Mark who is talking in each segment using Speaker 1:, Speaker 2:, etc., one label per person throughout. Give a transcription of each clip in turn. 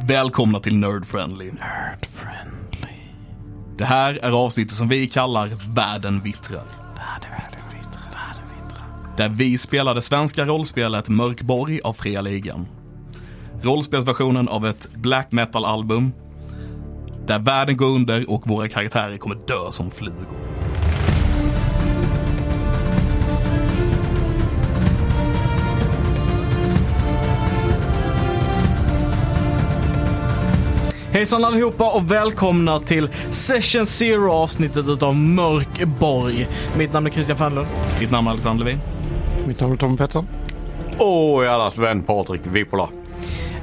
Speaker 1: Välkomna till Nerd Friendly.
Speaker 2: Nerd friendly.
Speaker 1: Det här är avsnittet som vi kallar Världen vittrar.
Speaker 2: Värde, värde, vittra. Värde, vittra.
Speaker 1: Där vi spelar det svenska rollspelet Mörkborg av Fria Ligan. Rollspelsversionen av ett black metal-album. Där världen går under och våra karaktärer kommer dö som flugor.
Speaker 3: Hejsan allihopa och välkomna till Session Zero avsnittet utav Mörkborg. Mitt namn är Christian Fernlund.
Speaker 1: Mitt namn är Alexander Levin.
Speaker 4: Mitt namn är Tommy Pettersson.
Speaker 2: Och allas vän Patrik Vipola.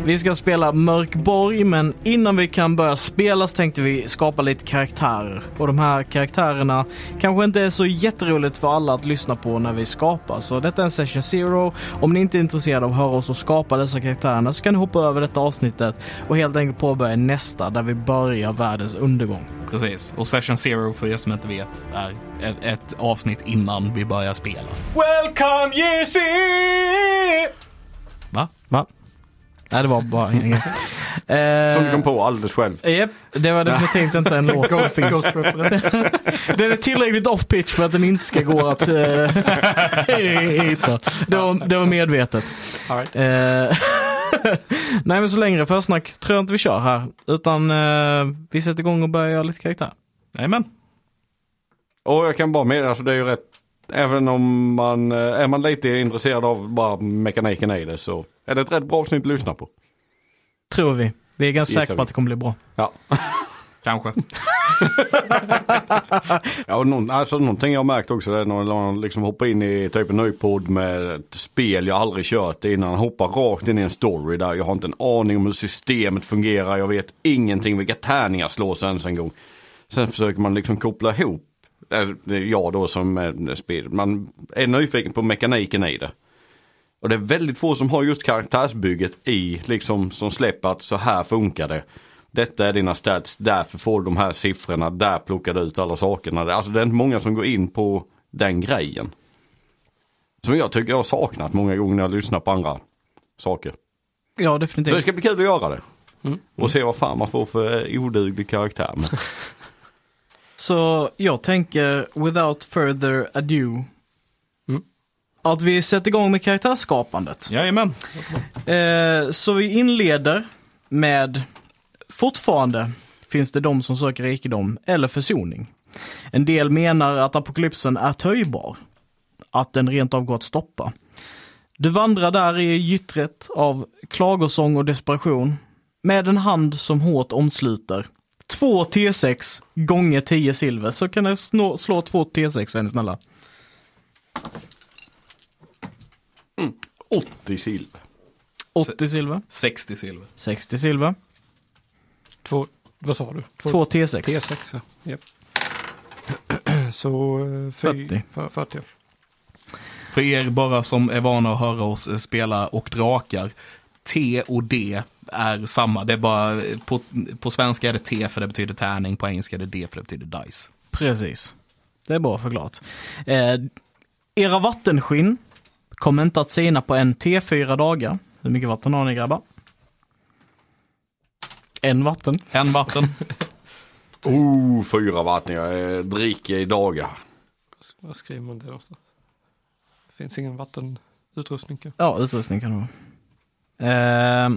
Speaker 3: Vi ska spela Mörkborg men innan vi kan börja spela så tänkte vi skapa lite karaktärer. Och de här karaktärerna kanske inte är så jätteroligt för alla att lyssna på när vi skapar. Så detta är en Session Zero. Om ni inte är intresserade av att höra oss och skapa dessa karaktärerna så kan ni hoppa över detta avsnittet och helt enkelt påbörja nästa där vi börjar världens undergång.
Speaker 1: Precis. Och Session Zero, för er som inte vet, är ett, ett avsnitt innan vi börjar spela.
Speaker 3: Welcome Jesse!
Speaker 1: Va?
Speaker 3: Va? Nej, det var bara en grej. Eh,
Speaker 2: Som du kom på alldeles själv.
Speaker 3: Japp, det var definitivt inte en låt som finns. den är tillräckligt off-pitch för att den inte ska gå att eh, hitta. Det var, det var medvetet. Eh, Nej men så längre försnack tror jag inte vi kör här. Utan eh, vi sätter igång och börjar göra lite karaktär.
Speaker 1: Jajamän.
Speaker 2: Och jag kan bara meddela, alltså det är ju rätt. Även om man eh, är man lite intresserad av bara mekaniken i det så är det ett rätt bra avsnitt att lyssna på.
Speaker 3: Tror vi. Vi är ganska
Speaker 2: Gissar
Speaker 3: säkra på
Speaker 2: vi.
Speaker 3: att det kommer bli bra.
Speaker 2: Ja,
Speaker 1: Kanske.
Speaker 2: ja och någon, alltså någonting jag har märkt också det är när man liksom hoppar in i typ en ny podd med ett spel jag aldrig kört innan. Hoppar rakt in i en story där jag har inte en aning om hur systemet fungerar. Jag vet ingenting vilka tärningar slås ens en gång. Sen försöker man liksom koppla ihop, eh, det är jag då som är spel, man är nyfiken på mekaniken i det. Och det är väldigt få som har just karaktärsbygget i, liksom som släpper att så här funkar det. Detta är dina stats, därför får du de här siffrorna, där plockar du ut alla sakerna. Det- Alltså det är inte många som går in på den grejen. Som jag tycker jag har saknat många gånger när jag lyssnar på andra saker.
Speaker 3: Ja
Speaker 2: Så det
Speaker 3: definitivt.
Speaker 2: ska bli kul att göra det. Och se vad fan man får för eh, oduglig karaktär. Men
Speaker 3: Så jag tänker without further ado.
Speaker 2: Mm.
Speaker 3: Att vi sätter igång med karaktärsskapandet.
Speaker 1: Jajamän.
Speaker 3: Eh, så vi inleder med Fortfarande finns det de som söker rikedom eller försoning. En del menar att apokalypsen är töjbar. Att den rent av går att stoppa. Du vandrar där i gyttret av klagosång och desperation. Med en hand som hårt omsluter. Två T6 gånger 10 silver. Så kan jag snå, slå två T6 är ni snälla.
Speaker 2: 80 silver.
Speaker 3: 80 silver.
Speaker 1: 60 silver.
Speaker 3: 60 silver.
Speaker 4: Två, vad sa du?
Speaker 3: Två T6.
Speaker 4: T6. ja. Japp. Så eh, fy,
Speaker 3: 40.
Speaker 4: 40. 40.
Speaker 1: För er bara som är vana att höra oss eh, spela och drakar, T och D är samma. Det är bara, eh, på, på svenska är det T för det betyder tärning, på engelska är det D för det betyder dice.
Speaker 3: Precis. Det är bra förklarat. Eh, era vattenskinn kommer inte att sina på en T4 dagar. Hur mycket vatten har ni grabbar? En vatten.
Speaker 1: En vatten.
Speaker 2: Oh, fyra vatten jag eh, dricker i dagar.
Speaker 4: Vad skriver man det någonstans? Det finns ingen vattenutrustning. kanske?
Speaker 3: Ja, utrustning kan det vara. Eh,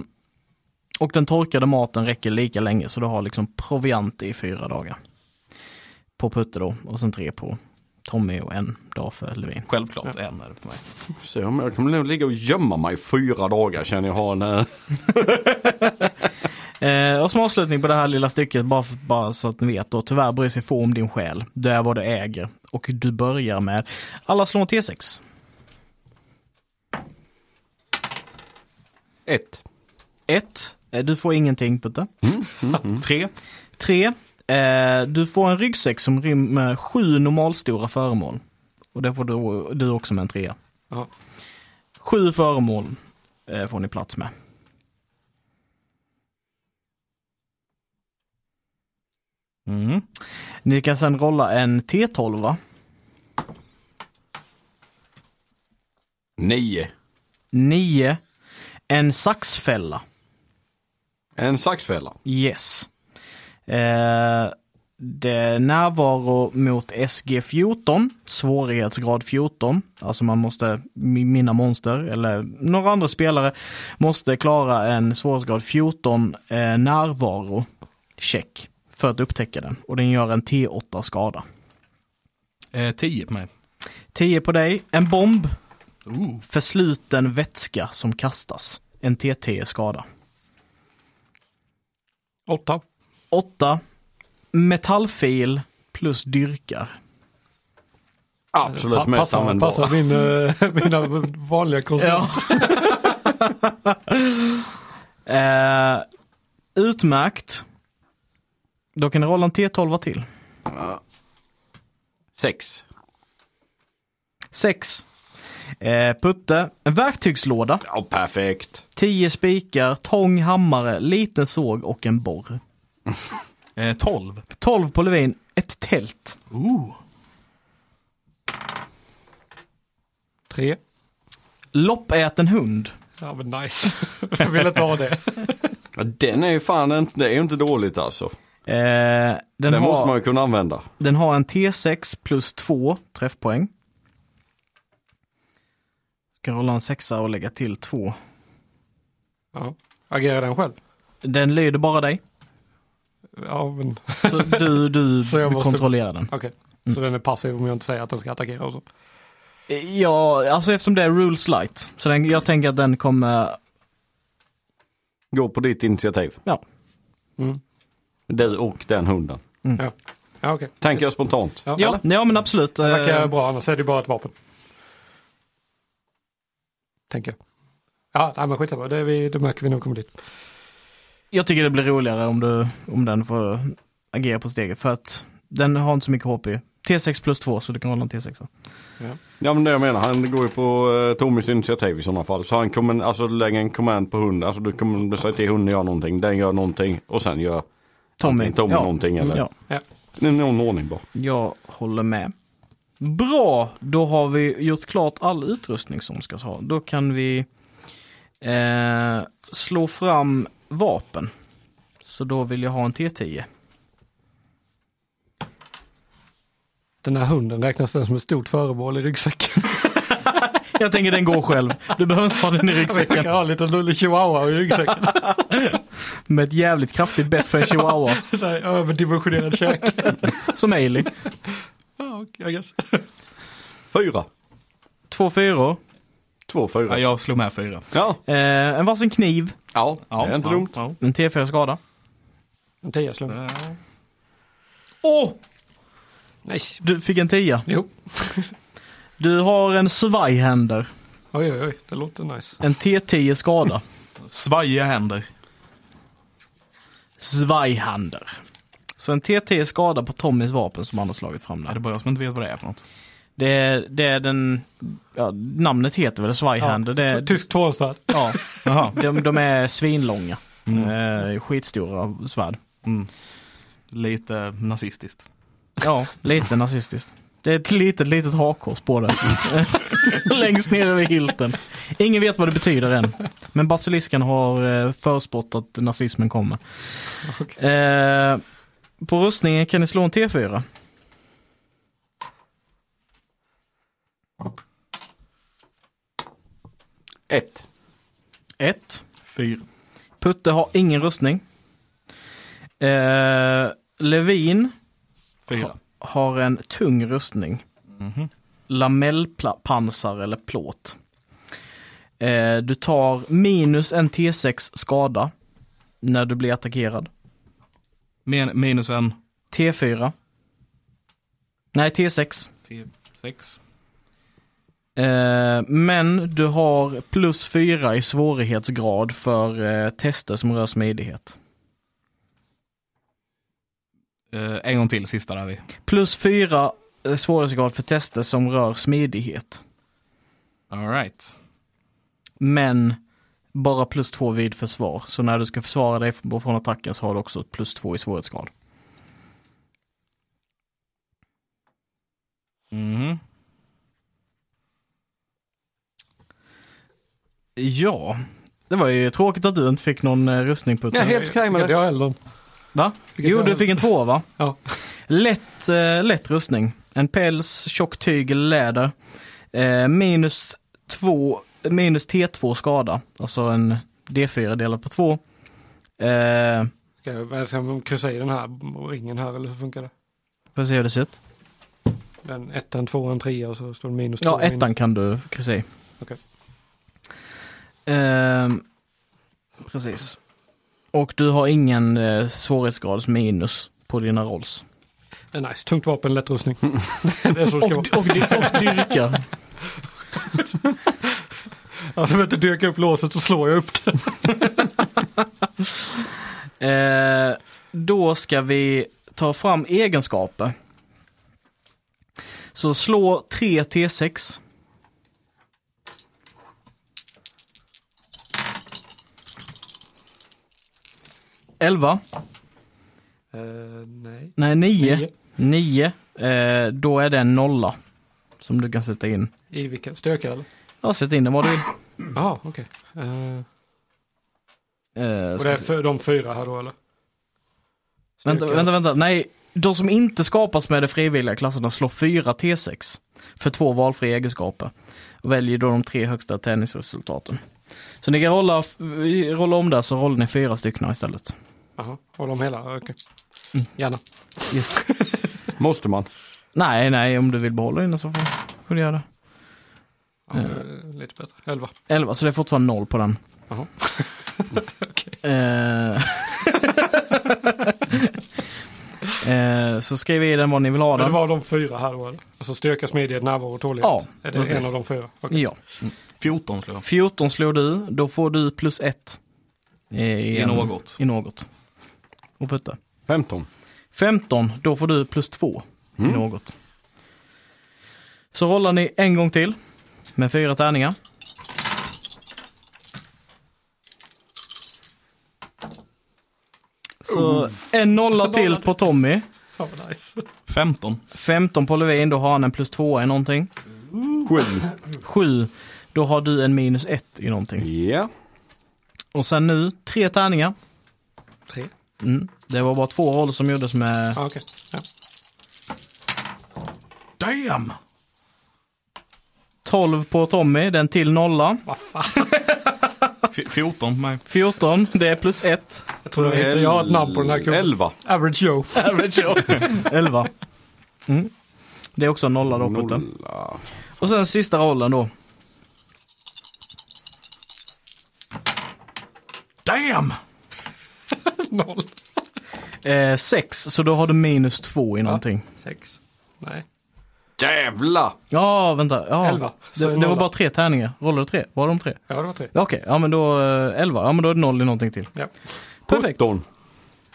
Speaker 3: och den torkade maten räcker lika länge så du har liksom proviant i fyra dagar. På Putte då och sen tre på Tommy och en dag för Levin.
Speaker 1: Självklart en är det för mig.
Speaker 2: Så jag, jag kommer nog ligga och gömma mig i fyra dagar känner jag har en eh,
Speaker 3: Eh, och som avslutning på det här lilla stycket, bara, för, bara så att ni vet då. Tyvärr bryr sig få om din själ. Du är vad du äger. Och du börjar med, alla slår en T6.
Speaker 2: ett.
Speaker 3: 1. Eh, du får ingenting Putte.
Speaker 1: Tre.
Speaker 3: 3. Eh, du får en ryggsäck som rymmer sju normalstora föremål. Och det får du, du också med en trea.
Speaker 4: Ja.
Speaker 3: Sju föremål eh, får ni plats med.
Speaker 1: Mm.
Speaker 3: Ni kan sedan rolla en T12. va?
Speaker 2: Nio.
Speaker 3: Nio. En saxfälla.
Speaker 2: En saxfälla.
Speaker 3: Yes. Eh, det är närvaro mot SG14, svårighetsgrad 14. Alltså man måste, mi- mina monster eller några andra spelare måste klara en svårighetsgrad 14 eh, närvaro check för att upptäcka den. Och den gör en T8 skada.
Speaker 1: Eh, 10 på mig.
Speaker 3: 10 på dig, en bomb, försluten vätska som kastas. En TT skada.
Speaker 4: Åtta.
Speaker 3: 8. Metallfil plus dyrkar.
Speaker 2: Absolut
Speaker 4: Pa-
Speaker 2: mest
Speaker 4: passar-
Speaker 2: användbara.
Speaker 4: Passar min, eh, mina vanliga konstnärer.
Speaker 3: Ja. eh, utmärkt. Då kan du rolla en T12 till.
Speaker 2: Sex.
Speaker 3: 6. Eh, putte. En verktygslåda.
Speaker 2: Ja, perfekt.
Speaker 3: 10 spikar, tång, hammare, liten såg och en borr.
Speaker 1: Eh, 12.
Speaker 3: 12 på Levin. Ett tält.
Speaker 1: Ooh.
Speaker 4: Tre.
Speaker 3: Loppäten hund.
Speaker 4: Ja men nice. Jag ville inte ha det.
Speaker 2: Ja, den är ju fan inte, det är ju inte dåligt alltså.
Speaker 3: Eh, den,
Speaker 2: Den,
Speaker 3: har,
Speaker 2: måste man ju kunna använda.
Speaker 3: den har en T6 plus 2 träffpoäng. Ska rolla en sexa och lägga till 2.
Speaker 4: Ja. Agerar den själv?
Speaker 3: Den lyder bara dig.
Speaker 4: Ja men
Speaker 3: Så du du
Speaker 4: Så jag måste-
Speaker 3: kontrollerar den.
Speaker 4: okej. Så den är passiv om jag inte säger att den ska attackera och så.
Speaker 3: Ja, alltså eftersom det är rules light. Så den, jag tänker att den kommer,
Speaker 2: Gå på ditt initiativ.
Speaker 3: ja.
Speaker 4: Mm.
Speaker 2: Du och den hunden.
Speaker 4: Ja. Ja okej.
Speaker 2: Tänker jag spontant.
Speaker 4: Ja,
Speaker 3: Ja,
Speaker 4: eller?
Speaker 3: ja men absolut.
Speaker 4: Det verkar
Speaker 3: Eh,
Speaker 4: bra annars är det bara ett vapen. Tänker jag. Ja nej, men skitsamma, det, är vi, det märker vi när vi kommer dit.
Speaker 3: Jag tycker det blir roligare om, du, om den får agera på steget. För att den har inte så mycket HP. T6 plus 2 så du kan hålla en T6.
Speaker 2: Ja men det jag menar, han går ju på eh, Tommys initiativ i sådana fall. Så han kommer, alltså lägga en command på hunden. Alltså du kommer säga till hunden gör någonting, den gör någonting och sen gör
Speaker 3: Tommy.
Speaker 2: antingen Tommy
Speaker 3: ja.
Speaker 2: någonting eller
Speaker 3: Ja,
Speaker 4: Ja.
Speaker 2: Det är någon ordning bara.
Speaker 3: jag håller med. Bra, då har vi gjort klart all utrustning som ska ha. Då kan vi eh, slå fram vapen. Så då vill jag ha en T10.
Speaker 4: Den här hunden, räknas den som ett stort föremål i ryggsäcken?
Speaker 3: Jag tänker den går själv. Du behöver inte ha den i
Speaker 4: Jag kan
Speaker 3: ryggsäcken.
Speaker 4: ha en liten lullig chihuahua i ryggsäcken.
Speaker 3: Med ett jävligt kraftigt bett för en chihuahua.
Speaker 4: Så här, överdimensionerad käke.
Speaker 3: Som Ailey.
Speaker 4: Ja, okej, I guess.
Speaker 2: Fyra.
Speaker 3: Två fyror.
Speaker 2: Två fyra.
Speaker 1: Ja, jag slog med 4.
Speaker 2: Ja,
Speaker 3: Eh, en varsin kniv.
Speaker 2: ja, det är inte dumt.
Speaker 1: Ja.
Speaker 3: En T4 skada.
Speaker 4: En tia slump.
Speaker 3: Åh!
Speaker 4: Nice.
Speaker 3: Du fick en tia.
Speaker 4: Jo,
Speaker 3: Du har en svajhänder.
Speaker 4: oj oj oj, det låter nice.
Speaker 3: En T10 skada.
Speaker 1: Svajiga händer.
Speaker 3: Svajhänder. Så en T10 skada på Tommys vapen som han har slagit fram
Speaker 1: Ja, det är
Speaker 3: där.
Speaker 1: bara jag som inte vet vad det är för något.
Speaker 3: Det är, det är den... Ja, namnet heter väl svajhänder? Det
Speaker 4: Ja,
Speaker 3: är,
Speaker 4: t- Tysk tvåhandsvärd.
Speaker 3: ja,
Speaker 1: Jaha.
Speaker 3: de, de är svinlånga.
Speaker 4: Mm.
Speaker 3: Eh, skitstora svärd.
Speaker 1: Mm. Lite nazistiskt.
Speaker 3: Ja, lite nazistiskt. Det är ett litet, litet hakkors på det. Längst ner över hilten. Ingen vet vad det betyder än. Men basilisken har eh, förspått att nazismen kommer. Eh, på rustningen kan ni slå en T4.
Speaker 2: Ett.
Speaker 3: 1.
Speaker 1: 4.
Speaker 3: Putte har ingen rustning. Eh, Levin
Speaker 1: 4.
Speaker 3: har en tung rustning. Lamellpansar eller plåt. Eh, du tar minus en T6 skada när du blir attackerad.
Speaker 1: Men, minus en.
Speaker 3: T4. Nej, T6.
Speaker 1: 6.
Speaker 3: Eh, men du har plus 4 i svårighetsgrad för eh, tester som rör smidighet.
Speaker 1: Eh, en gång till, sista där vi.
Speaker 3: Plus 4 eh, svårighetsgrad för tester som rör smidighet.
Speaker 1: Alright.
Speaker 3: Men bara plus två vid försvar. Så när du ska försvara dig från från attacken så har du också ett plus två i svårighetsgrad.
Speaker 1: Mhm.
Speaker 3: Ja, Det var ju tråkigt att du inte fick någon eh, rustning på
Speaker 2: Ja,
Speaker 3: det.
Speaker 2: helt okej med
Speaker 4: Vilket
Speaker 2: det.
Speaker 4: jag Eldon.
Speaker 3: Va?
Speaker 4: Vilket
Speaker 3: Jo,
Speaker 4: jag-
Speaker 3: du fick en tvåa va?
Speaker 4: Ja.
Speaker 3: Lätt, eh, lätt rustning. En päls, tjock tyg eller läder. Eh, minus, två, minus T2 skada. Alltså en D4 delat på två. Eh,
Speaker 4: Ska jag, vad ska jag kryssa i den här ringen här eller hur funkar det?
Speaker 3: får se hur det ser ut.
Speaker 4: Den ettan, tvåan, trean och så står det minus
Speaker 3: Ja,
Speaker 4: två, minus-
Speaker 3: ettan kan du kryssa i.
Speaker 4: Okej.
Speaker 3: Ehm, precis. Och du har ingen eh, svårighetsgrads minus på dina rolls.
Speaker 4: Det är nice, tungt vapen, lätt rustning. det är så det
Speaker 3: Mm. Och,
Speaker 4: ska
Speaker 3: och,
Speaker 4: vara.
Speaker 3: och, och dyrkar.
Speaker 4: Ja, du vet, jag dyrkar upp låset så slår jag upp det.
Speaker 3: Eh, då ska vi ta fram egenskaper. Så slå 3 T6. Elva.
Speaker 4: Eh, nej.
Speaker 3: Nej, nio.
Speaker 4: Nio.
Speaker 3: Nio. Eh, då är det en nolla. Som du kan sätta in.
Speaker 4: I vilken? Stökar eller?
Speaker 3: Ja, sätt in den vad du vill.
Speaker 4: Ja, okej. Eh,
Speaker 3: Eh,
Speaker 4: och
Speaker 3: ska
Speaker 4: det är
Speaker 3: se.
Speaker 4: för de fyra här då eller?
Speaker 3: Vänta,
Speaker 4: Styrka.
Speaker 3: vänta, vänta. Nej, de som inte skapas med de frivilliga klasserna slår 4 T6 för två valfria egenskaper. Och väljer då de tre högsta tärningsresultaten. Så ni kan rolla, rolla om där så rollar ni fyra stycken istället.
Speaker 4: Jaha, håller om hela? Okej.
Speaker 3: Mm.
Speaker 4: Gärna.
Speaker 3: Yes.
Speaker 2: Måste man?
Speaker 3: nej, nej, om du vill behålla dina så får får du göra det.
Speaker 4: Ja, eh, Lite bättre. Elva.
Speaker 3: 11, så det är fortfarande noll på den.
Speaker 4: Jaha.
Speaker 3: Eh, eh, så skriv i den vad ni vill ha
Speaker 4: Men det
Speaker 3: den.
Speaker 4: var de fyra här då eller? Alltså styrka, smidighet, närvaro och tålighet?
Speaker 3: Ja,
Speaker 4: Är det
Speaker 3: precis.
Speaker 4: en av de fyra? Okej.
Speaker 3: Ja.
Speaker 1: 14 slår jag.
Speaker 3: 14 slår du, då får du plus 1. I,
Speaker 1: I
Speaker 3: en-
Speaker 1: något.
Speaker 3: I något. Och putta.
Speaker 2: 15.
Speaker 3: 15, då får du plus 2 i något. Så rollar ni en gång till med fyra tärningar. Så en nolla till på Tommy,
Speaker 4: Fan vad nice.
Speaker 1: 15.
Speaker 3: 15 på Levin, då har han en plus 2 i någonting.
Speaker 2: 7.
Speaker 3: 7, då har du en minus 1 i någonting.
Speaker 2: Ja.
Speaker 3: Och sen nu, tre tärningar.
Speaker 4: Tre.
Speaker 3: Mm. Det var bara två roll som gjordes med...
Speaker 4: Ja, okej. Ja.
Speaker 1: Damn!
Speaker 3: 12 på Tommy, den till nolla.
Speaker 4: Vad fan.
Speaker 1: F- 14 på mig.
Speaker 3: 14, det är plus 1.
Speaker 4: Jag tror jag heter, jag har ett namn på den här kurvan.
Speaker 2: 11.
Speaker 4: Average Joe.
Speaker 3: 11. Mm. Det är också en nolla då putten.
Speaker 2: Nolla.
Speaker 3: Och sen sista rollen då.
Speaker 1: Damn!
Speaker 4: Noll.
Speaker 3: 6, Eh, så då har du minus 2 i någonting.
Speaker 4: Sex. Nej.
Speaker 2: Jävla!
Speaker 3: Ja, vänta. Ja.
Speaker 4: Elva, så
Speaker 3: Det, det var
Speaker 4: nolla.
Speaker 3: bara tre tärningar. Rollade du tre? Var de tre?
Speaker 4: Ja, det var tre.
Speaker 3: Ja, Okej, ja men då 11. Ja men då är det noll i någonting till.
Speaker 4: Ja.
Speaker 3: Perfekt.
Speaker 2: 17.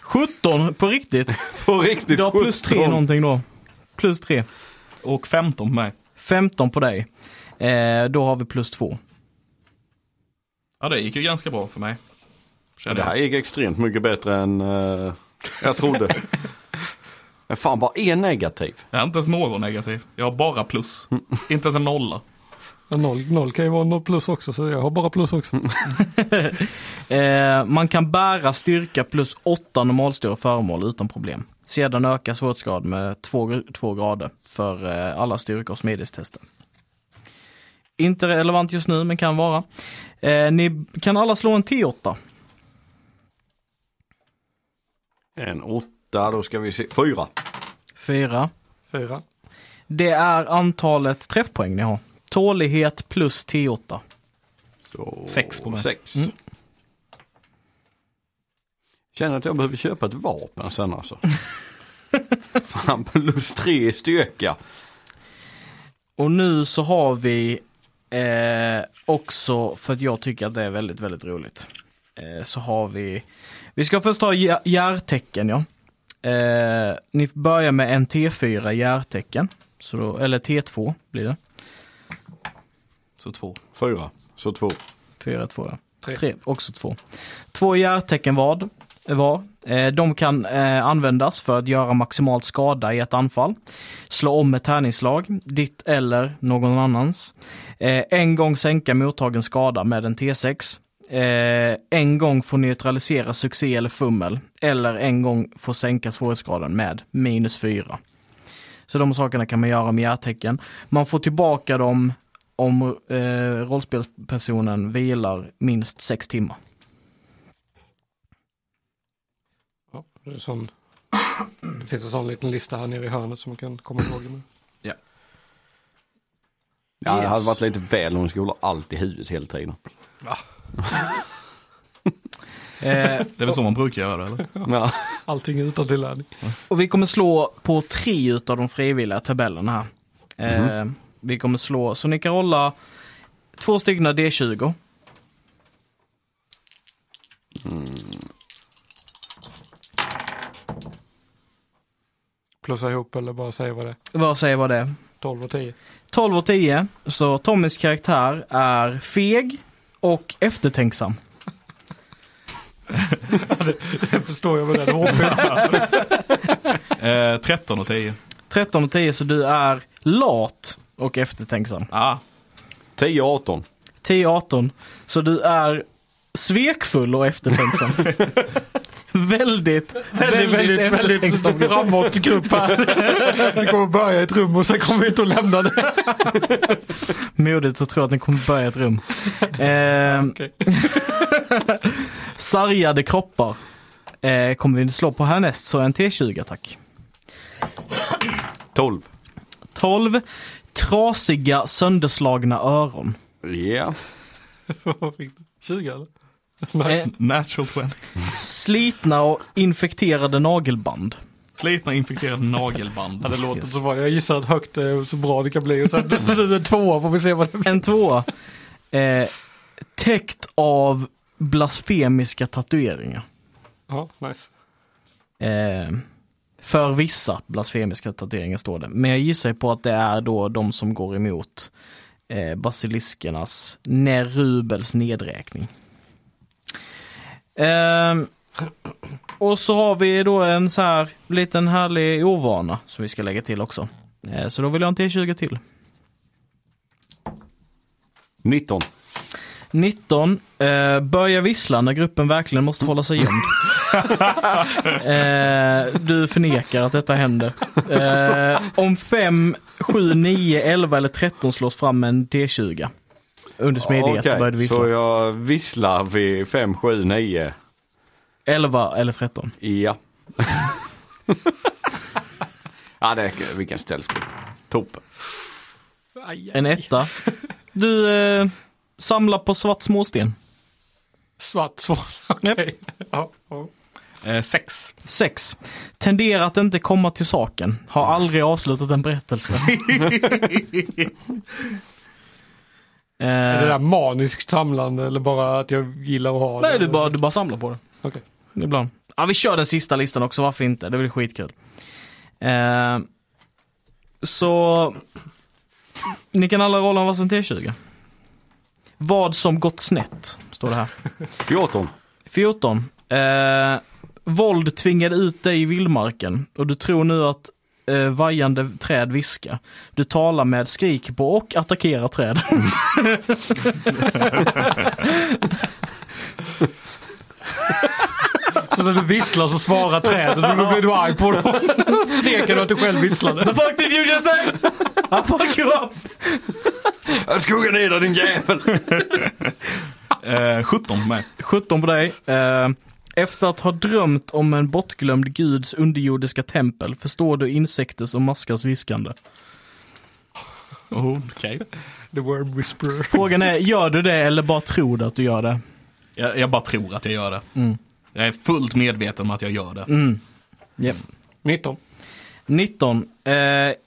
Speaker 3: 17 på riktigt.
Speaker 2: På riktigt
Speaker 3: Du har plus 3
Speaker 2: 17.
Speaker 3: någonting då. Plus 3.
Speaker 1: Och 15 på mig.
Speaker 3: 15 på dig. Eh, då har vi plus 2.
Speaker 1: Ja, det gick ju ganska bra för mig. Känner
Speaker 2: Det här
Speaker 1: jag.
Speaker 2: gick extremt mycket bättre än eh, jag trodde. Men fan, bara en negativ.
Speaker 1: Jag har inte ens någon negativ. Jag har bara plus. Inte ens en nolla.
Speaker 4: Men Noll, noll kan ju vara noll plus också, så jag har bara plus också.
Speaker 3: Eh, man kan bära styrka plus 8 normalstora föremål utan problem. Sedan ökar svårighetsgrad med 2 grader för eh, alla styrka och smidighetstester. Inte relevant just nu, men kan vara. Eh, ni kan alla slå en T8.
Speaker 2: En åtta, då ska vi se. Fyra.
Speaker 3: 4.
Speaker 4: Fyra.
Speaker 3: Det är antalet träffpoäng ni har. Tålighet plus T8.
Speaker 2: Så,
Speaker 1: Sex på mig.
Speaker 2: Sex. Känner att jag behöver köpa ett vapen sen alltså. fan, plus tre i styrka.
Speaker 3: Och nu så har vi eh, också, för att jag tycker att det är väldigt, väldigt roligt. Eh, så har vi, vi ska först ta ja- järtecken ja. Eh, ni börjar med en T4 järtecken. Så då, eller T2 blir det.
Speaker 1: Så två.
Speaker 2: Fyra, så två.
Speaker 3: 4, 2 ja.
Speaker 4: Tre.
Speaker 3: Tre, också två. Två järtecken vad, var. Eh, De kan eh, användas för att göra maximalt skada i ett anfall. Slå om ett tärningsslag, ditt eller någon annans. Eh, En gång sänka mottagen skada med en T6. eh, en gång får neutralisera succé eller fummel eller en gång får sänka svårighetsgraden med minus fyra. Så de sakerna kan man göra med hjärtecken. Man får tillbaka dem om eh, rollspelspersonen vilar minst sex timmar.
Speaker 4: Ja, det, är sån, det finns en sån liten lista här nere i hörnet som man kan komma ihåg. det Med.
Speaker 2: Ja, Det hade
Speaker 3: Yes.
Speaker 2: varit lite väl om du skulle hålla allt i huvudet hela tiden.
Speaker 3: Eh,
Speaker 1: Det är väl så man brukar göra eller?
Speaker 2: Ja.
Speaker 4: Allting utan tillärning.
Speaker 3: Och vi kommer slå på tre utav de frivilliga tabellerna här. Eh, vi kommer slå, så ni kan rolla två stycken D20.
Speaker 4: Plussa ihop eller bara säga vad det är.
Speaker 3: Vad säger vad det är?
Speaker 4: 12 och 10.
Speaker 3: 12 och 10. Så Tommys karaktär är feg och eftertänksam.
Speaker 4: Det förstår jag med den HP.
Speaker 1: Eh, 13 och 10.
Speaker 3: 13 och 10 så du är lat och eftertänksam.
Speaker 1: Ah,
Speaker 2: 10-18.
Speaker 3: 10 och 18 så du är svekfull och eftertänksam. väldigt, väldigt, väldigt eftertänksam.
Speaker 4: framåt grupp här. Vi kommer börja i ett rum och sen kommer vi inte att lämna det.
Speaker 3: Modigt att tro att ni kommer börja i ett rum. Eh,
Speaker 4: Okej.
Speaker 3: sargade kroppar eh, kommer vi slå på härnäst, så en T20 tack.
Speaker 2: 12.
Speaker 3: 12. Trasiga sönderslagna öron.
Speaker 2: Ja.
Speaker 4: Vad fick du? 20 eller? Nej.
Speaker 3: Eh,
Speaker 1: natural 20.
Speaker 3: slitna och infekterade nagelband.
Speaker 1: Slitna infekterade nagelband.
Speaker 4: Ja, det låter
Speaker 3: yes.
Speaker 4: så bra. Jag gissar att högt är så bra det kan bli. Och sen en tvåa får vi se vad det blir.
Speaker 3: En tvåa. Eh, täckt av blasfemiska tatueringar.
Speaker 4: Ja, nice.
Speaker 3: Eh, för vissa blasfemiska tatueringar står det. Men jag gissar på att det är då de som går emot eh, basiliskernas Nerubels nedräkning. Ehm, och så har vi då en så här liten härlig ovana som vi ska lägga till också. Eh, så då vill jag ha en T20 till.
Speaker 2: 19.
Speaker 3: 19. Eh, börja vissla när gruppen verkligen måste hålla sig gömd. eh, du förnekar att detta händer. Eh, om 5, 7, 9, 11 eller 13 slås fram en D20. Under smidighet så börjar du
Speaker 2: Okej,
Speaker 3: vissla.
Speaker 2: så jag visslar vid 5, 7, 9.
Speaker 3: 11 eller 13.
Speaker 2: Ja. ja, det är, vilken ställskrupp. Toppen.
Speaker 4: Aj, aj.
Speaker 3: En etta. Du eh, samlar på svart småsten.
Speaker 4: Svart svan. Okej. Ja, ja.
Speaker 1: Eh, 6.
Speaker 3: 6. Tenderar att inte komma till saken. Har aldrig avslutat en berättelse. Eh,
Speaker 4: Är det där maniskt samlande eller bara att jag gillar att ha det?
Speaker 3: Nej, du bara, du bara samlar på det.
Speaker 4: Okej.
Speaker 3: Ibland. Ja, vi kör den sista listan också, varför inte? Det blir skitkul. Eh, så ni kan alla rolla en varsin T20. Vad som gått snett, står det här.
Speaker 2: 14.
Speaker 3: 14. Eh, våld tvingade ut dig i vildmarken och du tror nu att eh, vajande träd viskar. Du talar med, skriker på och attackerar träd.
Speaker 4: Så när du visslar så svarar träden och då blir du arg på dem. Skrek du att du själv
Speaker 3: The
Speaker 4: visslade?
Speaker 3: fuck did you just say? I fuck you up!
Speaker 2: Jag skuggar ner dig din jävel!
Speaker 1: Eh, 17 på mig.
Speaker 3: 17 på dig. Eh, efter att ha drömt om en bortglömd guds underjordiska tempel förstår du insekters och maskars viskande.
Speaker 1: Oh, Okej.
Speaker 4: The worm whisperer.
Speaker 3: Frågan är, gör du det eller bara tror du att du gör det?
Speaker 1: Jag, jag bara tror att jag gör det.
Speaker 3: Mm.
Speaker 1: Jag är fullt medveten om att jag gör det.
Speaker 3: Mm.
Speaker 4: 19.
Speaker 3: 19. Eh,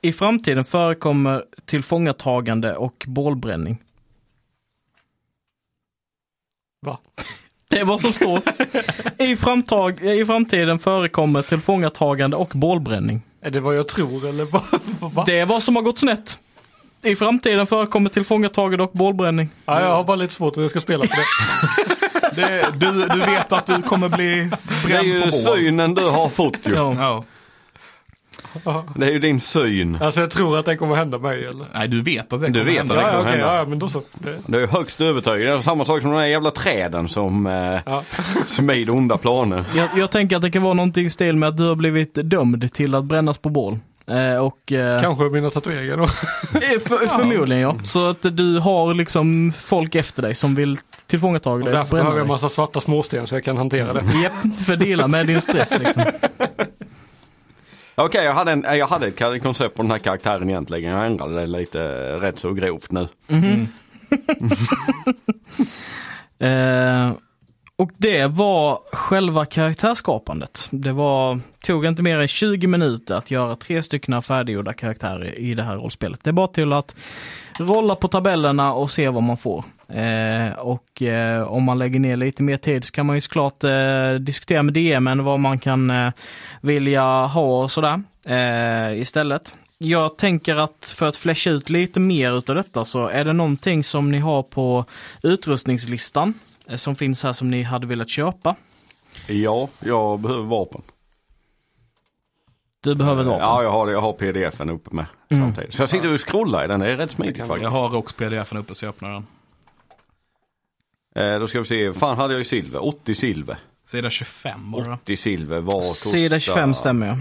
Speaker 3: I framtiden förekommer tillfångatagande och bålbränning.
Speaker 4: Va?
Speaker 3: Det är vad som står. I, framtag, I framtiden förekommer tillfångatagande och bålbränning.
Speaker 4: Är det vad jag tror eller vad? Va?
Speaker 3: Det är vad som har gått snett. I framtiden förekommer tillfångatagande och bålbränning.
Speaker 4: Ja, jag har bara lite svårt att jag ska spela på det.
Speaker 1: Det, du, du vet att du kommer bli
Speaker 2: Det är
Speaker 1: bränd
Speaker 2: ju
Speaker 1: på bål.
Speaker 2: synen du har fått ju.
Speaker 3: Ja.
Speaker 1: Ja.
Speaker 2: Det är ju din syn.
Speaker 4: Alltså jag tror att det kommer hända mig eller?
Speaker 1: Nej, du vet att det
Speaker 2: Du
Speaker 1: kommer
Speaker 2: vet
Speaker 1: hända.
Speaker 2: det.
Speaker 4: Ja,
Speaker 2: kommer
Speaker 4: okej,
Speaker 2: hända.
Speaker 4: ja, ja, men då så. Det,
Speaker 2: Det är ju högst övertygad. Det är samma sak som de där jävla träden som eh,
Speaker 4: ja.
Speaker 2: smider onda planer.
Speaker 3: Jag, jag tänker att det kan vara någonting i stil med att du har blivit dömd till att brännas på bål. Eh, och, eh,
Speaker 4: Kanske mina tatueringar då.
Speaker 3: eh, för, Förmodligen ja. Så att du har liksom folk efter dig som vill tillfångata dig.
Speaker 4: Och därför
Speaker 3: bränna
Speaker 4: behöver jag en
Speaker 3: dig.
Speaker 4: massa svarta småsten så jag kan hantera det.
Speaker 3: Japp, för att dela med din stress liksom.
Speaker 2: Okej, jag, hade en- jag hade ett ka- koncept på den här karaktären egentligen. Jag ändrade det lite eh, rätt så grovt nu.
Speaker 3: Mm. Eh, och det var själva karaktärskapandet. Det var, tog inte mer än 20 minuter att göra tre stycken färdiggjorda karaktärer i det här rollspelet. Det är bara till att rolla på tabellerna och se vad man får. Eh, och eh, om man lägger ner lite mer tid så kan man ju såklart eh, diskutera med DMen vad man kan eh, vilja ha och sådär eh, istället. Jag tänker att för att fläscha ut lite mer utav detta så är det någonting som ni har på utrustningslistan eh, som finns här som ni hade velat köpa.
Speaker 2: Ja, jag behöver vapen.
Speaker 3: Du behöver ett vapen. Mm.
Speaker 2: Ja, jag har, det. jag har pdf-en uppe med samtidigt. Så jag sitter och scrollar i den, det är rätt smidigt
Speaker 1: Jag
Speaker 2: faktiskt.
Speaker 1: har också pdf-en uppe så jag öppnar den.
Speaker 2: Eh, då ska vi se, fan hade jag ju silver, 80 silver.
Speaker 1: Sida 25 bara.
Speaker 2: 80 silver var kostar...
Speaker 3: Sida 25 stämmer jag.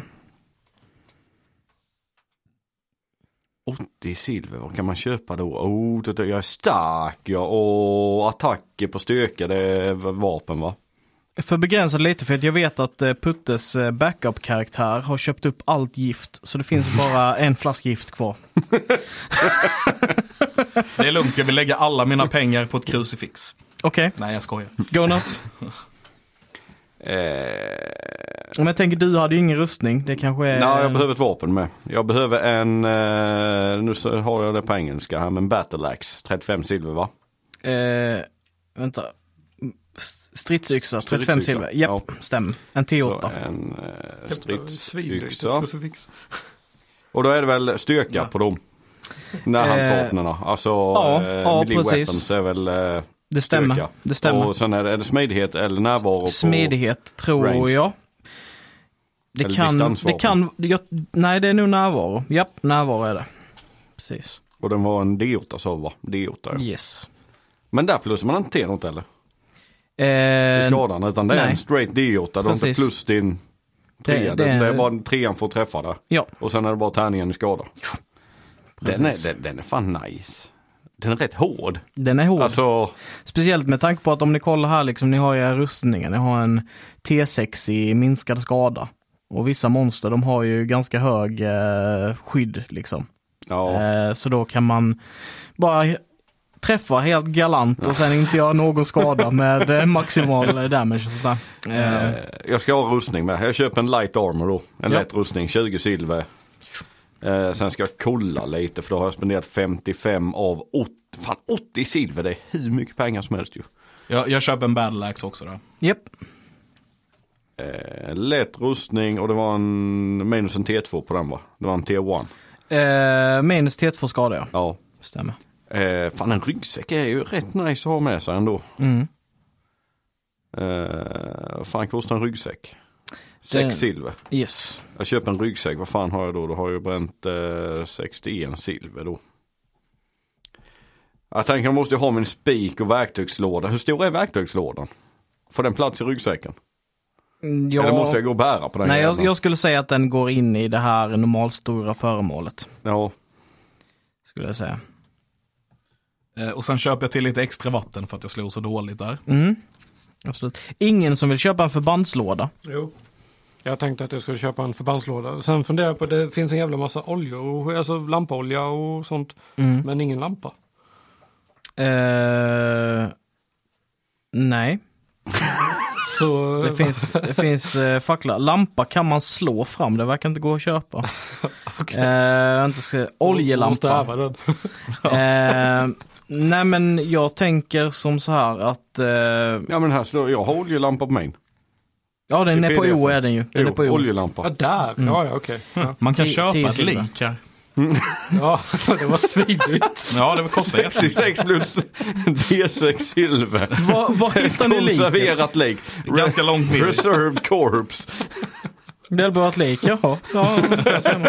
Speaker 2: 80 silver, vad kan man köpa då? Oh, det, det, jag är stark ja, och attacker på styrka, det är vapen va?
Speaker 3: För begränsad lite för att jag vet att eh, Puttes eh, backup-karaktär har köpt upp allt gift så det finns bara en flaska gift kvar.
Speaker 1: Det är lugnt, jag vill lägga alla mina pengar på ett krucifix.
Speaker 3: Okej,
Speaker 1: Nej, jag skojar.
Speaker 3: go nuts.
Speaker 2: Eh,
Speaker 3: Om jag tänker du hade ju ingen rustning, det kanske är...
Speaker 2: Nej, jag behöver ett vapen med. Jag behöver en, eh, nu så har jag det på engelska här, men battle axe, 35 silver va?
Speaker 3: Eh, vänta. S- Stridsyxa, 35
Speaker 2: Stridsyxa,
Speaker 3: silver. Japp, stämmer. En
Speaker 2: Så
Speaker 3: T8.
Speaker 2: en eh,
Speaker 4: Svindyrt,
Speaker 2: stridsyxa.
Speaker 4: krucifix.
Speaker 2: Och då är det väl styrka
Speaker 1: Ja.
Speaker 2: på dem? När han
Speaker 3: Eh,
Speaker 2: vapnen alltså
Speaker 3: ja,
Speaker 2: eh,
Speaker 3: ja,
Speaker 2: melee
Speaker 3: precis.
Speaker 2: weapons är väl eh,
Speaker 3: Det stämmer.
Speaker 2: styrka.
Speaker 3: Det stämmer.
Speaker 2: Och sen är det, är det smidighet eller närvaro
Speaker 3: Smidighet tror
Speaker 2: range.
Speaker 3: jag.
Speaker 2: Eller
Speaker 3: Det kan, det
Speaker 2: distansvapen.
Speaker 3: kan, jag, nej det är nog närvaro. Japp, närvaro är det. Precis.
Speaker 2: på. Och den var en D8 sa vi, va? D8 ja.
Speaker 3: Yes.
Speaker 2: Men där plussar man inte till något eller? I
Speaker 3: Eh,
Speaker 2: skadan utan det är
Speaker 3: nej.
Speaker 2: en straight D8. Du har inte
Speaker 3: Precis.
Speaker 2: plus din trea. Det,
Speaker 3: det är-
Speaker 2: det, är bara trean får träffa där.
Speaker 3: ja,
Speaker 2: Och sen är det bara tärningen i skada. Den är,
Speaker 3: Precis.
Speaker 2: den, den är fan nice. Den är rätt hård.
Speaker 3: den är hård.
Speaker 2: Alltså,
Speaker 3: Speciellt med tanke på att om ni kollar här, liksom, ni har ju era rustningar, ni har en T6 i minskad skada. Och vissa monster de har ju ganska hög eh, skydd liksom.
Speaker 2: ja.
Speaker 3: Eh, så då kan man bara he- träffa helt galant och sen inte göra någon skada med eh, maximal eh, damage och sådär. Eh,
Speaker 2: Eh, Jag ska ha rustning med. Jag köper en light armor då. En
Speaker 3: Ja.
Speaker 2: lätt rustning, 20 silver. Eh, sen ska jag kolla lite för då har jag spenderat 55 av 80. Fan 80 silver det är hur mycket pengar som helst ju.
Speaker 1: Jag, jag köper en battle axe också då.
Speaker 3: Japp,
Speaker 2: Eh, lätt rustning och det var en minus en T2 på den va? Det var en T1.
Speaker 3: eh, minus T2 skada ja.
Speaker 2: Ja.
Speaker 3: Stämmer.
Speaker 2: Eh, fan en ryggsäck är ju rätt nice att ha med sig ändå.
Speaker 3: Mm.
Speaker 2: Eh, vad fan kostar en ryggsäck?
Speaker 3: Det-
Speaker 2: 6 silver.
Speaker 3: Yes.
Speaker 2: Jag köper en ryggsäck, vad fan har jag då? Då har jag ju bränt eh, 61 silver då. Jag tänker jag måste ju ha min spik och verktygslåda. Hur stor är verktygslådan? Får den plats i ryggsäcken?
Speaker 3: Mm, Ja,
Speaker 2: Eller måste jag gå och bära på den?
Speaker 3: nej, jag,
Speaker 2: jäveln?
Speaker 3: jag skulle säga att den går in i det här normalstora föremålet.
Speaker 2: Ja,
Speaker 3: Skulle jag säga.
Speaker 1: Eh, Och sen köper jag till lite extra vatten för att jag slog så dåligt där.
Speaker 3: Mm. Absolut. Ingen som vill köpa en förbandslåda.
Speaker 4: Jo. Jag tänkte att jag skulle köpa en förbandslåda. Sen funderar jag på det finns en jävla massa oljor, och- alltså lampolja och sånt. Men ingen lampa.
Speaker 3: Eh, nej,
Speaker 4: Så
Speaker 3: det finns, det finns eh, fackla. Lampa kan man slå fram, det verkar inte gå att köpa. okay. inte ska,
Speaker 4: Måste
Speaker 3: oljelampa.
Speaker 4: öva den.
Speaker 3: Eh, nej men jag tänker som så här att, eh,
Speaker 2: ja men här slår jag, har oljelampa på min.
Speaker 3: ja den
Speaker 2: I
Speaker 3: är på
Speaker 2: PDF.
Speaker 3: O är den ju. Den är på
Speaker 2: Jo,
Speaker 3: o.
Speaker 2: oljelampa.
Speaker 4: Ja, Mm. där! Ja, ja, okej. Ja.
Speaker 1: Man kan
Speaker 3: Ti-
Speaker 1: köpa
Speaker 3: tio
Speaker 1: ett
Speaker 3: silver.
Speaker 1: lik här.
Speaker 4: ja, det var svindyrt.
Speaker 1: Ja, det kostar jättemycket.
Speaker 2: 66 plus D6 silver.
Speaker 3: Var, var hittar ni linken?
Speaker 2: Konserverat lik.
Speaker 1: Ganska långt ner.
Speaker 2: Reserved corpse.
Speaker 3: Delbert lik, jaha.
Speaker 4: Ja, jag ser nog.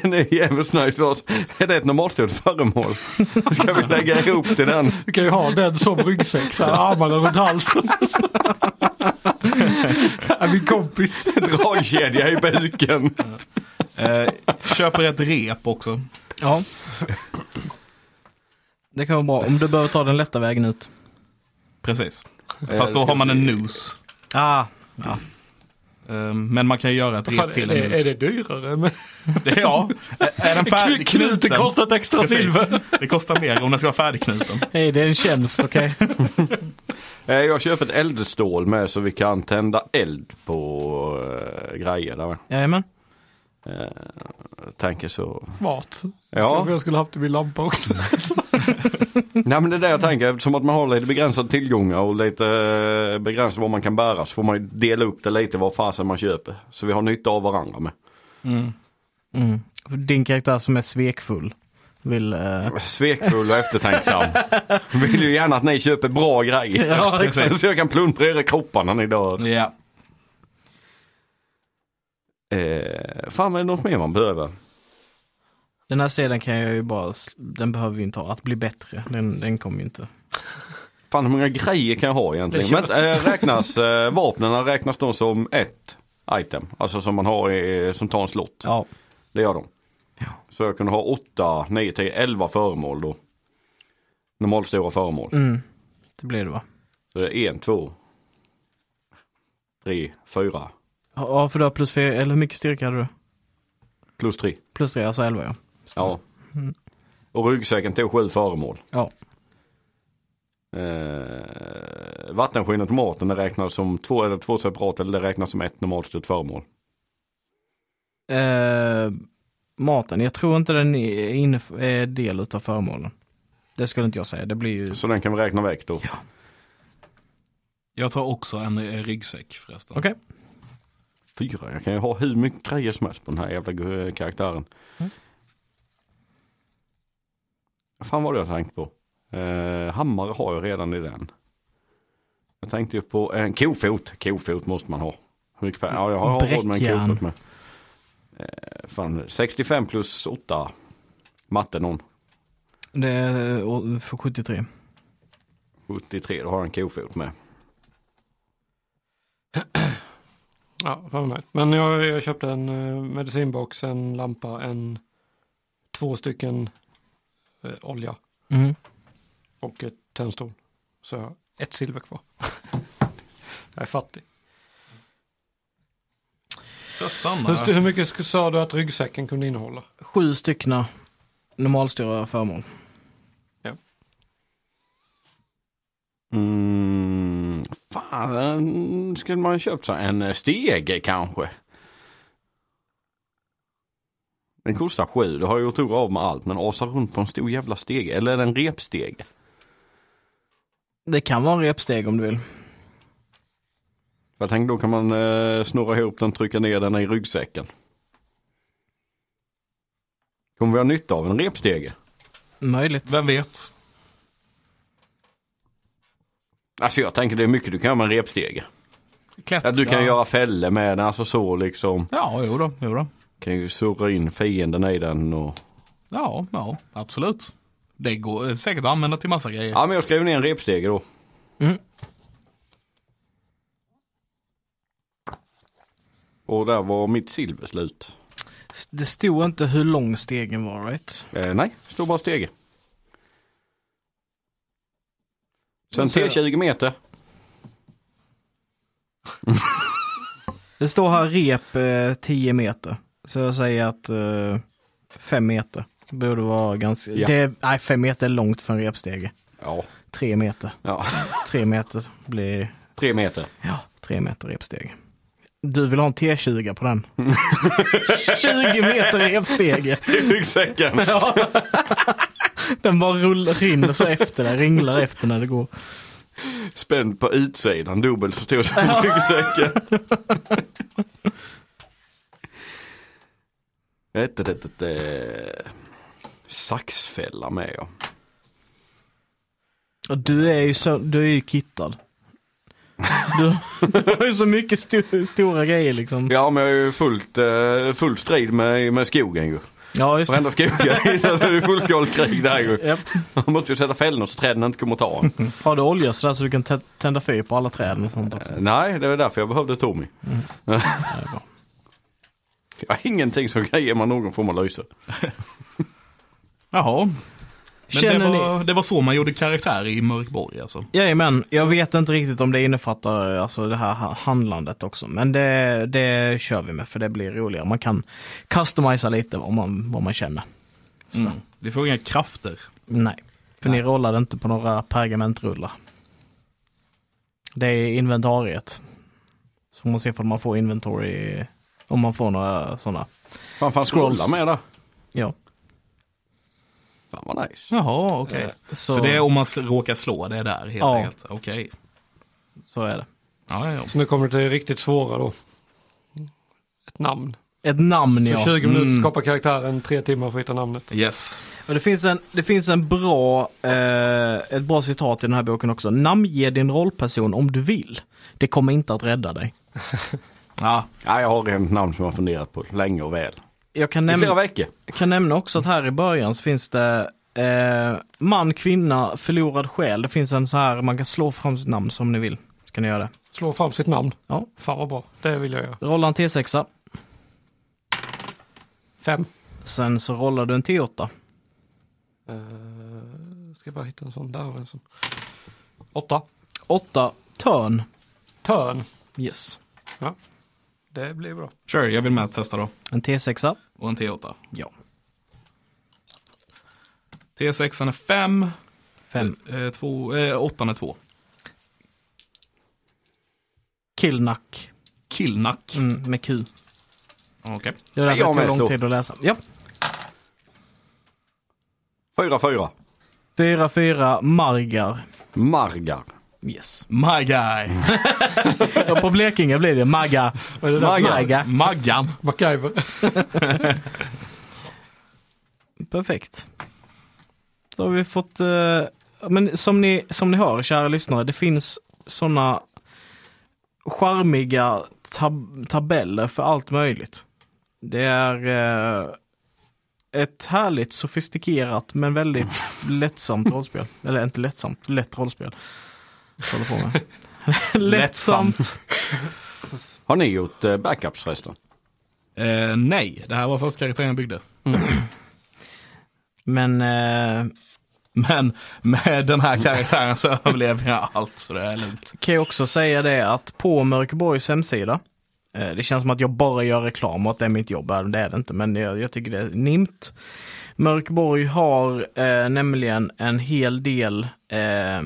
Speaker 2: Den är jävligt nice. Lars. Är det ett normalstort föremål? Ska vi lägga ihop till den?
Speaker 4: du kan ju ha den som ryggsäck, så här, armarna runt halsen. Är min kompis.
Speaker 2: Dragkedja i buken.
Speaker 1: Eh, köper ett rep också.
Speaker 3: Ja. Det kan vara bra om du behöver ta den lätta vägen ut.
Speaker 1: Precis.
Speaker 2: Eh,
Speaker 1: Fast då
Speaker 2: ska
Speaker 1: har man
Speaker 2: vi
Speaker 1: en
Speaker 2: se.
Speaker 1: nos.
Speaker 3: Ah,
Speaker 1: Eh, Men man kan ju göra ett
Speaker 4: Fan,
Speaker 1: rep
Speaker 4: är,
Speaker 1: till
Speaker 4: det,
Speaker 1: en
Speaker 4: är
Speaker 1: nos.
Speaker 4: det dyrare? Men
Speaker 1: Ja, Är- är den färdig-
Speaker 4: knuten
Speaker 1: knuten?
Speaker 4: kostar ett extra
Speaker 1: Precis.
Speaker 4: silver.
Speaker 1: Det kostar mer om den ska vara färdigknuten.
Speaker 3: hej det är en tjänst, okej.
Speaker 2: Eh, Jag köper ett eldstål med så vi kan tända eld på eh, grejer. Där.
Speaker 3: Jajamän.
Speaker 2: Jag tänker så.
Speaker 4: Smart.
Speaker 2: Ja,
Speaker 4: Kanske Jag skulle haft det i min lampa också.
Speaker 2: nej men det är det jag tänker. Eftersom att man har lite begränsade tillgångar och lite eh, begränsat vad man kan bära så får man ju dela upp det lite vad fasen man köper. Så vi har nytta av varandra med.
Speaker 3: Mm. Din karaktär som är svekfull vill... eh,
Speaker 2: Svekfull och eftertänksam. Vill ju gärna att ni köper bra grejer.
Speaker 3: Ja,
Speaker 1: exakt.
Speaker 2: Så jag kan plundra era kroppar när ni dör.
Speaker 1: Ja.
Speaker 2: Eh, fan, är det något mer man behöver?
Speaker 3: Den här sidan kan jag ju bara, sl- den behöver vi inte ha, att bli bättre, den, den kommer ju inte.
Speaker 2: Fan hur många grejer kan jag ha egentligen?
Speaker 4: Det är
Speaker 2: Men, eh, räknas eh, vapnen räknas de som ett item? Alltså som man har i, som tar en slott.
Speaker 3: Ja.
Speaker 2: Det gör de.
Speaker 3: Ja.
Speaker 2: Så jag kunde ha 8, 9, 10, 11 föremål då. Normalstora föremål.
Speaker 3: Mm. Det blir det va?
Speaker 2: Så det är en, två, tre, fyra,
Speaker 3: Ja, för du har plus fyra, eller hur mycket styrka hade du?
Speaker 2: plus tre.
Speaker 3: Plus tre, alltså elva ja.
Speaker 2: Ja.
Speaker 4: Mm.
Speaker 2: Och ryggsäcken tog sju föremål.
Speaker 3: Ja.
Speaker 2: Eh, vattenskinnet och maten det räknas som två eller två separat eller det räknas som ett normalstort föremål.
Speaker 3: Eh, maten, jag tror inte den är, inne, är del utav föremålen. Det skulle inte jag säga, det blir ju...
Speaker 2: Så den kan vi räkna väck då.
Speaker 1: Jag tar också en eh, ryggsäck förresten.
Speaker 3: Okej.
Speaker 2: Fyra, jag kan ju ha hur mycket grejer som helst på den här jävla gu- karaktären.
Speaker 3: Mm.
Speaker 2: Vad fan var det jag tänkte på? Eh, hammare har jag redan i den. Jag tänkte ju på en kofot. Kofot måste man ha. Hur mycket pengar? Ja, jag har råd med en
Speaker 3: Bräckjärn.
Speaker 2: kofot med. Eh, fan, 65 plus 8. Matte någon.
Speaker 3: Det är å- för 73.
Speaker 2: 73, då har jag en kofot med.
Speaker 4: Ja, fan vad nice. Men jag, jag köpte en eh, medicinbox, en lampa, en två stycken eh, olja
Speaker 3: Mm.
Speaker 4: och ett tändstål. Så jag har ett silver kvar. jag är fattig.
Speaker 1: Jag
Speaker 4: Hur,
Speaker 1: stannar
Speaker 4: st-
Speaker 1: här.
Speaker 4: hur mycket sk- sa du att ryggsäcken kunde innehålla?
Speaker 3: Sju stycken normalstora föremål.
Speaker 2: Mm, fan, eh, skulle man köpt så här en stege kanske? Den kostar sju, det har jag gjort av med allt, men asar runt på en stor jävla stege, eller är det en repstege?
Speaker 3: Det kan vara en repsteg om du vill.
Speaker 2: Jag tänkte då kan man eh, snurra ihop den, trycka ner den i ryggsäcken. Kommer vi ha nytta av en repstege?
Speaker 3: Möjligt.
Speaker 1: Vem vet?
Speaker 2: Alltså jag tänker det är mycket du kan göra med en repstege.
Speaker 1: Klättra.
Speaker 2: Ja, du kan göra fällor med den, alltså så liksom.
Speaker 1: Ja, jo då, jo då.
Speaker 2: Kan ju surra in fienden i den och
Speaker 1: Ja, ja, absolut. Det går eh, säkert att använda till massa grejer.
Speaker 2: Ja men jag skriver ner en repstege då.
Speaker 3: Mm.
Speaker 2: Och där var mitt silver slut.
Speaker 3: S- Det stod inte hur lång stegen var right?
Speaker 2: Eh, nej, det står bara stege. Sen
Speaker 3: Jag ser-
Speaker 2: T20 meter.
Speaker 3: Det står här rep eh, 10 meter. Så jag säger att eh, 5 meter. Borde vara ganska...
Speaker 2: Ja.
Speaker 3: Det, nej, 5 meter är långt för en repstege.
Speaker 2: Ja,
Speaker 3: 3 meter.
Speaker 2: ja.
Speaker 3: 3 meter blir...
Speaker 2: tre meter.
Speaker 3: Ja, 3 meter repstege. Du vill ha en T20 på den? 20 meter repstege.
Speaker 2: I ryggsäcken.
Speaker 3: Ja. Den bara rullar, rinner så efter dig, ringlar efter när det går.
Speaker 2: Spänd på utsidan, dubbelt så stor som ryggsäcken. Ett, ett, ett, ett, eh, Saxfälla med ja.
Speaker 3: Och du är ju, så, du är ju kittad. Du du har ju så mycket sto- stora grejer liksom.
Speaker 2: Ja men jag är ju fullt, eh, full strid med, med skogen ju.
Speaker 3: Ja, just det.
Speaker 2: Varenda skoga, alltså, det är fullskaligt krig där ju.
Speaker 3: Japp.
Speaker 2: Man måste ju sätta fällor så träden inte kommer att ta en.
Speaker 3: Har du olja sådär så du kan tä- tända fyr på alla träd och sånt också?
Speaker 2: Eh, Nej, det var därför jag behövde Tommy. jag har ingenting som kan ge mig någon form av lyse.
Speaker 1: Jaha. Men det
Speaker 3: Känner ni-
Speaker 1: var, det var så man gjorde karaktär i Mörkborg alltså.
Speaker 3: Jajamän, jag vet inte riktigt om det innefattar alltså, det här ha- handlandet också. Men det, det kör vi med för det blir roligare. Man kan customisa lite vad man, vad man känner.
Speaker 1: Mm. Vi får inga krafter.
Speaker 3: Nej, för ni rollade inte på några pergamentrullar. Det är inventariet. Så får man se om man får inventory, om man får några sådana.
Speaker 2: Fan, fan
Speaker 3: Scrolls.
Speaker 2: scrolls med där.
Speaker 3: Ja.
Speaker 2: Fan vad nice.
Speaker 1: Jaha, okej. Så...
Speaker 3: Så,
Speaker 1: det är om man s- råkar slå det där helt
Speaker 3: Ja.
Speaker 1: enkelt? Okej.
Speaker 3: så är det.
Speaker 1: Ja, ja.
Speaker 4: Så nu kommer det till det riktigt svåra då. Ett namn.
Speaker 3: Ett namn
Speaker 4: Så
Speaker 3: ja.
Speaker 4: 20
Speaker 1: Mm.
Speaker 4: minuter skapar karaktären, tre timmar för att hitta namnet.
Speaker 1: Yes.
Speaker 3: Och det finns en, det finns en bra, eh, ett bra citat i den här boken också. Namnge din rollperson om du vill. Det kommer inte att rädda dig.
Speaker 1: Ja,
Speaker 2: Ja, jag har ett namn som jag har funderat på länge och väl.
Speaker 3: Jag kan,
Speaker 2: I flera
Speaker 3: näm-
Speaker 2: veckor.
Speaker 3: jag kan nämna också att här i början så finns det eh, man, kvinna, förlorad själ. Det finns en så här, man kan slå fram sitt namn som ni vill. Så kan ni göra det.
Speaker 4: Slå fram sitt namn.
Speaker 3: Ja.
Speaker 4: Fan vad bra, det vill jag göra.
Speaker 3: Rolla en T6.
Speaker 4: Fem.
Speaker 3: Sen så rollar du en T8.
Speaker 4: Uh, ska bara hitta en sån, där har vi en sån. Åtta.
Speaker 3: 8. Törn.
Speaker 4: Törn.
Speaker 3: Yes.
Speaker 4: Ja. Det blir bra.
Speaker 1: sure. Jag vill med att testa då.
Speaker 3: En T6.
Speaker 1: Och en T8.
Speaker 3: Ja.
Speaker 1: T6 är 5.
Speaker 3: 5.
Speaker 1: 8 eh, är 2.
Speaker 3: Killnack.
Speaker 1: Killnack.
Speaker 3: Mm, med Q.
Speaker 1: Okej.
Speaker 3: Det var därför
Speaker 2: Jag
Speaker 3: det
Speaker 2: med,
Speaker 3: tog lång
Speaker 2: slå.
Speaker 3: tid att läsa. Ja.
Speaker 2: Fyra, fyra.
Speaker 3: 4-4 Margar.
Speaker 2: Margar.
Speaker 3: Yes.
Speaker 1: My guy.
Speaker 3: Och på Blekinge blir det Magga.
Speaker 4: Vad är det där?
Speaker 2: Maggan.
Speaker 3: Magga.
Speaker 1: Maggan.
Speaker 4: MacGyver.
Speaker 3: Perfekt. Då har vi fått, eh, men som ni, som ni hör kära lyssnare, det finns sådana charmiga tab- tabeller för allt möjligt. Det är eh, ett härligt sofistikerat men väldigt lättsamt rollspel. Eller inte lättsamt, lätt rollspel. Jag håller på med. lättsamt.
Speaker 2: Har ni gjort eh, backups förresten?
Speaker 1: Eh, nej, det här var första karaktären jag byggde.
Speaker 3: Men eh,
Speaker 1: Men med den här karaktären så överlever jag allt, så det är lugnt.
Speaker 3: kan jag också säga det att på Mörkeborgs hemsida, eh, det känns som att jag bara gör reklam och att det är mitt jobb, Eh, det är det inte, men jag, jag tycker det är nimt. Mörkeborg har eh, nämligen en hel del, eh, eh,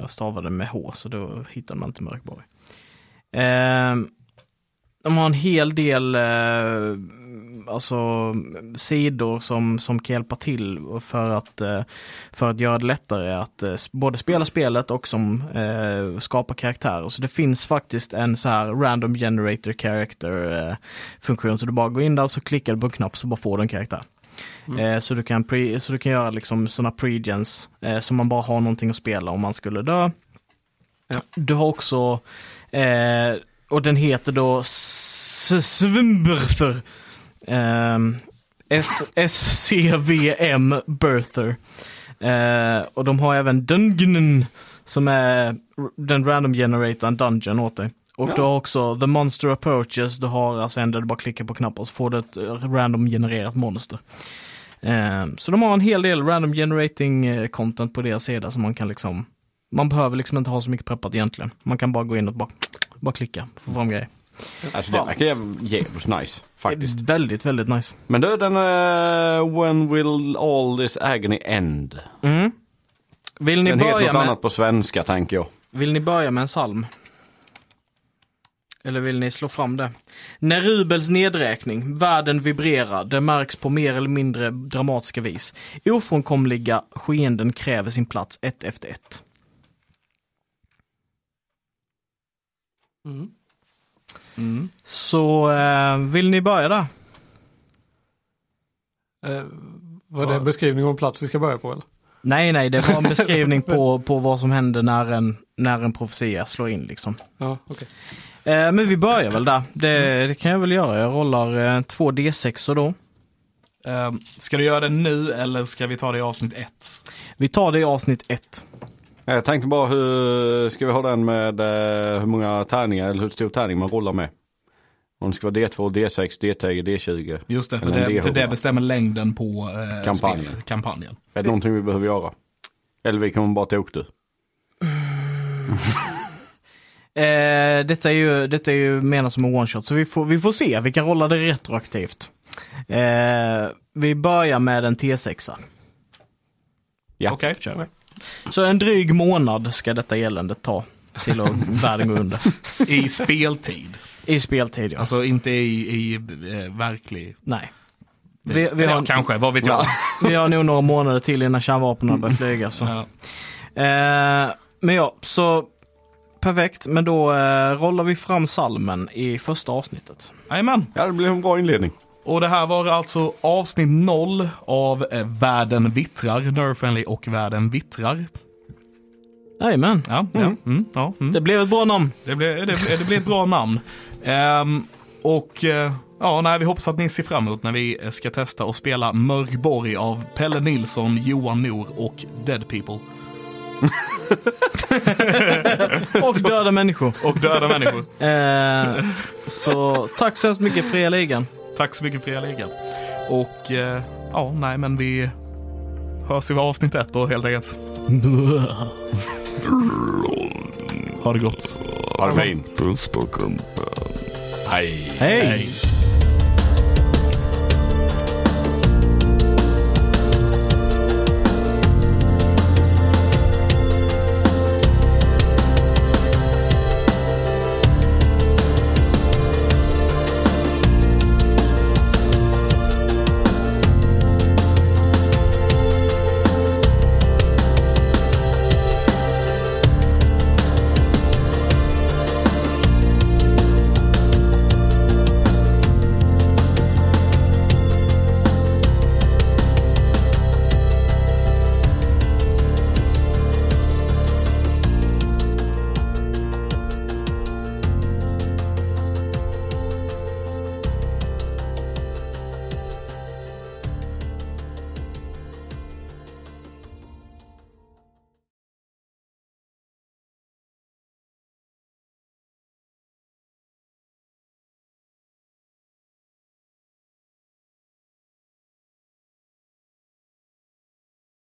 Speaker 3: jag stavade med H så då hittade man inte Mörkeborg. Eh, de har en hel del eh, alltså, sidor som, som kan hjälpa till för att eh, för att göra det lättare att eh, s- både spela spelet och som eh, skapa karaktärer. Så det finns faktiskt en så här random generator character eh, funktion. Så du bara går in där så klickar du på en knapp så bara får du en karaktär. Eh, så, du kan pre, så du kan göra liksom sådana pregens eh, så man bara har någonting att spela om man skulle dö.
Speaker 4: Ja.
Speaker 3: Du har också, eh, och den heter då S- Svimberther. Ehm, S- SCVM Birther. Eh, och de har även Dungeon som är r- den random generatorn Dungeon åt dig. Och du har också The Monster Approaches, du har alltså en där du bara klickar på knappar så får du ett eh, random genererat monster. Eh, så de har en hel del random generating eh, content på deras sida som man kan liksom, man behöver liksom inte ha så mycket preppat egentligen. Man kan bara gå in och bara, bara klicka, få fram grejer.
Speaker 2: Alltså det verkar jäv- jävligt nice faktiskt.
Speaker 3: Väldigt, väldigt nice.
Speaker 2: Men du den eh, When will all this agony end?
Speaker 3: Mm. Vill, ni
Speaker 2: Den heter
Speaker 3: börja
Speaker 2: något
Speaker 3: med,
Speaker 2: annat på svenska tänker jag.
Speaker 3: vill ni börja med en psalm? Eller vill ni slå fram det? När Rubels nedräkning, världen vibrerar, det märks på mer eller mindre dramatiska vis. Ofrånkomliga skeenden kräver sin plats ett efter ett.
Speaker 4: Mm.
Speaker 3: Så eh, vill ni börja där?
Speaker 4: Eh, vad är det en beskrivning av en plats vi ska börja på eller?
Speaker 3: Nej, nej, det var en beskrivning på, på vad som händer när en, när en profetia slår in liksom.
Speaker 4: Ja, okej.
Speaker 3: Eh, men vi börjar väl där. Det, det kan jag väl göra. Jag rollar eh, två D6 då.
Speaker 1: Um, ska du göra det nu eller ska vi ta det i avsnitt ett?
Speaker 3: Vi tar det i avsnitt ett.
Speaker 2: Jag tänkte bara hur ska vi ha den med eh, hur många tärningar eller hur stor tärning man rullar med? Om det ska vara D2, D6, D10, D20.
Speaker 1: Just det, för,
Speaker 2: Eller en
Speaker 1: det, för
Speaker 2: D100.
Speaker 1: det bestämmer längden på eh,
Speaker 2: Kampanjen.
Speaker 1: spel- kampanjen.
Speaker 2: Är det någonting vi behöver göra? Eller vi kommer bara till Oktu.
Speaker 3: Eh, detta, är ju, detta är ju menat som en one shot, så vi får, vi får se. Vi kan rolla det retroaktivt. Eh, vi börjar med en T6.
Speaker 2: Ja.
Speaker 1: Okej,
Speaker 3: Kör vi. Så en dryg månad ska detta eländet ta till att världen går under.
Speaker 1: i speltid.
Speaker 3: I speltid ja.
Speaker 1: Alltså inte i, i eh, verklig...
Speaker 3: Nej. Vi, vi,
Speaker 1: Eller,
Speaker 3: har,
Speaker 1: Kanske, vad vet jag.
Speaker 3: vi har nog några månader till innan kärnvapnen börjar flyga. Så.
Speaker 1: Ja.
Speaker 3: Eh, men ja, så perfekt. Men då eh, rollar vi fram salmen i första avsnittet.
Speaker 1: Jajamän.
Speaker 2: Ja, det blir en bra inledning.
Speaker 1: Och det här var alltså avsnitt 0 av eh, Världen vittrar, Nerfenly och Världen vittrar.
Speaker 3: Jajamän.
Speaker 1: Ja, ja, mm, ja, mm.
Speaker 3: Det blev ett bra namn.
Speaker 1: Det blev det, blev- det blev ett bra namn. Ehm, och eh, ja, nej, vi hoppas att ni ser fram emot när vi eh, ska testa att spela Mörkborg av Pelle Nilsson, Johan Nor och Dead People.
Speaker 3: Och döda människor.
Speaker 1: Och döda människor.
Speaker 3: Eh, så tack så hemskt mycket Fria Ligan.
Speaker 1: Tack så mycket för er ligan. Och eh, ja, nej, men vi hörs i avsnitt ett då helt enkelt. Ha det gott.
Speaker 2: Ha det fint.
Speaker 5: Puss på kumpen.
Speaker 2: Hej.
Speaker 3: Hej!
Speaker 1: Hej.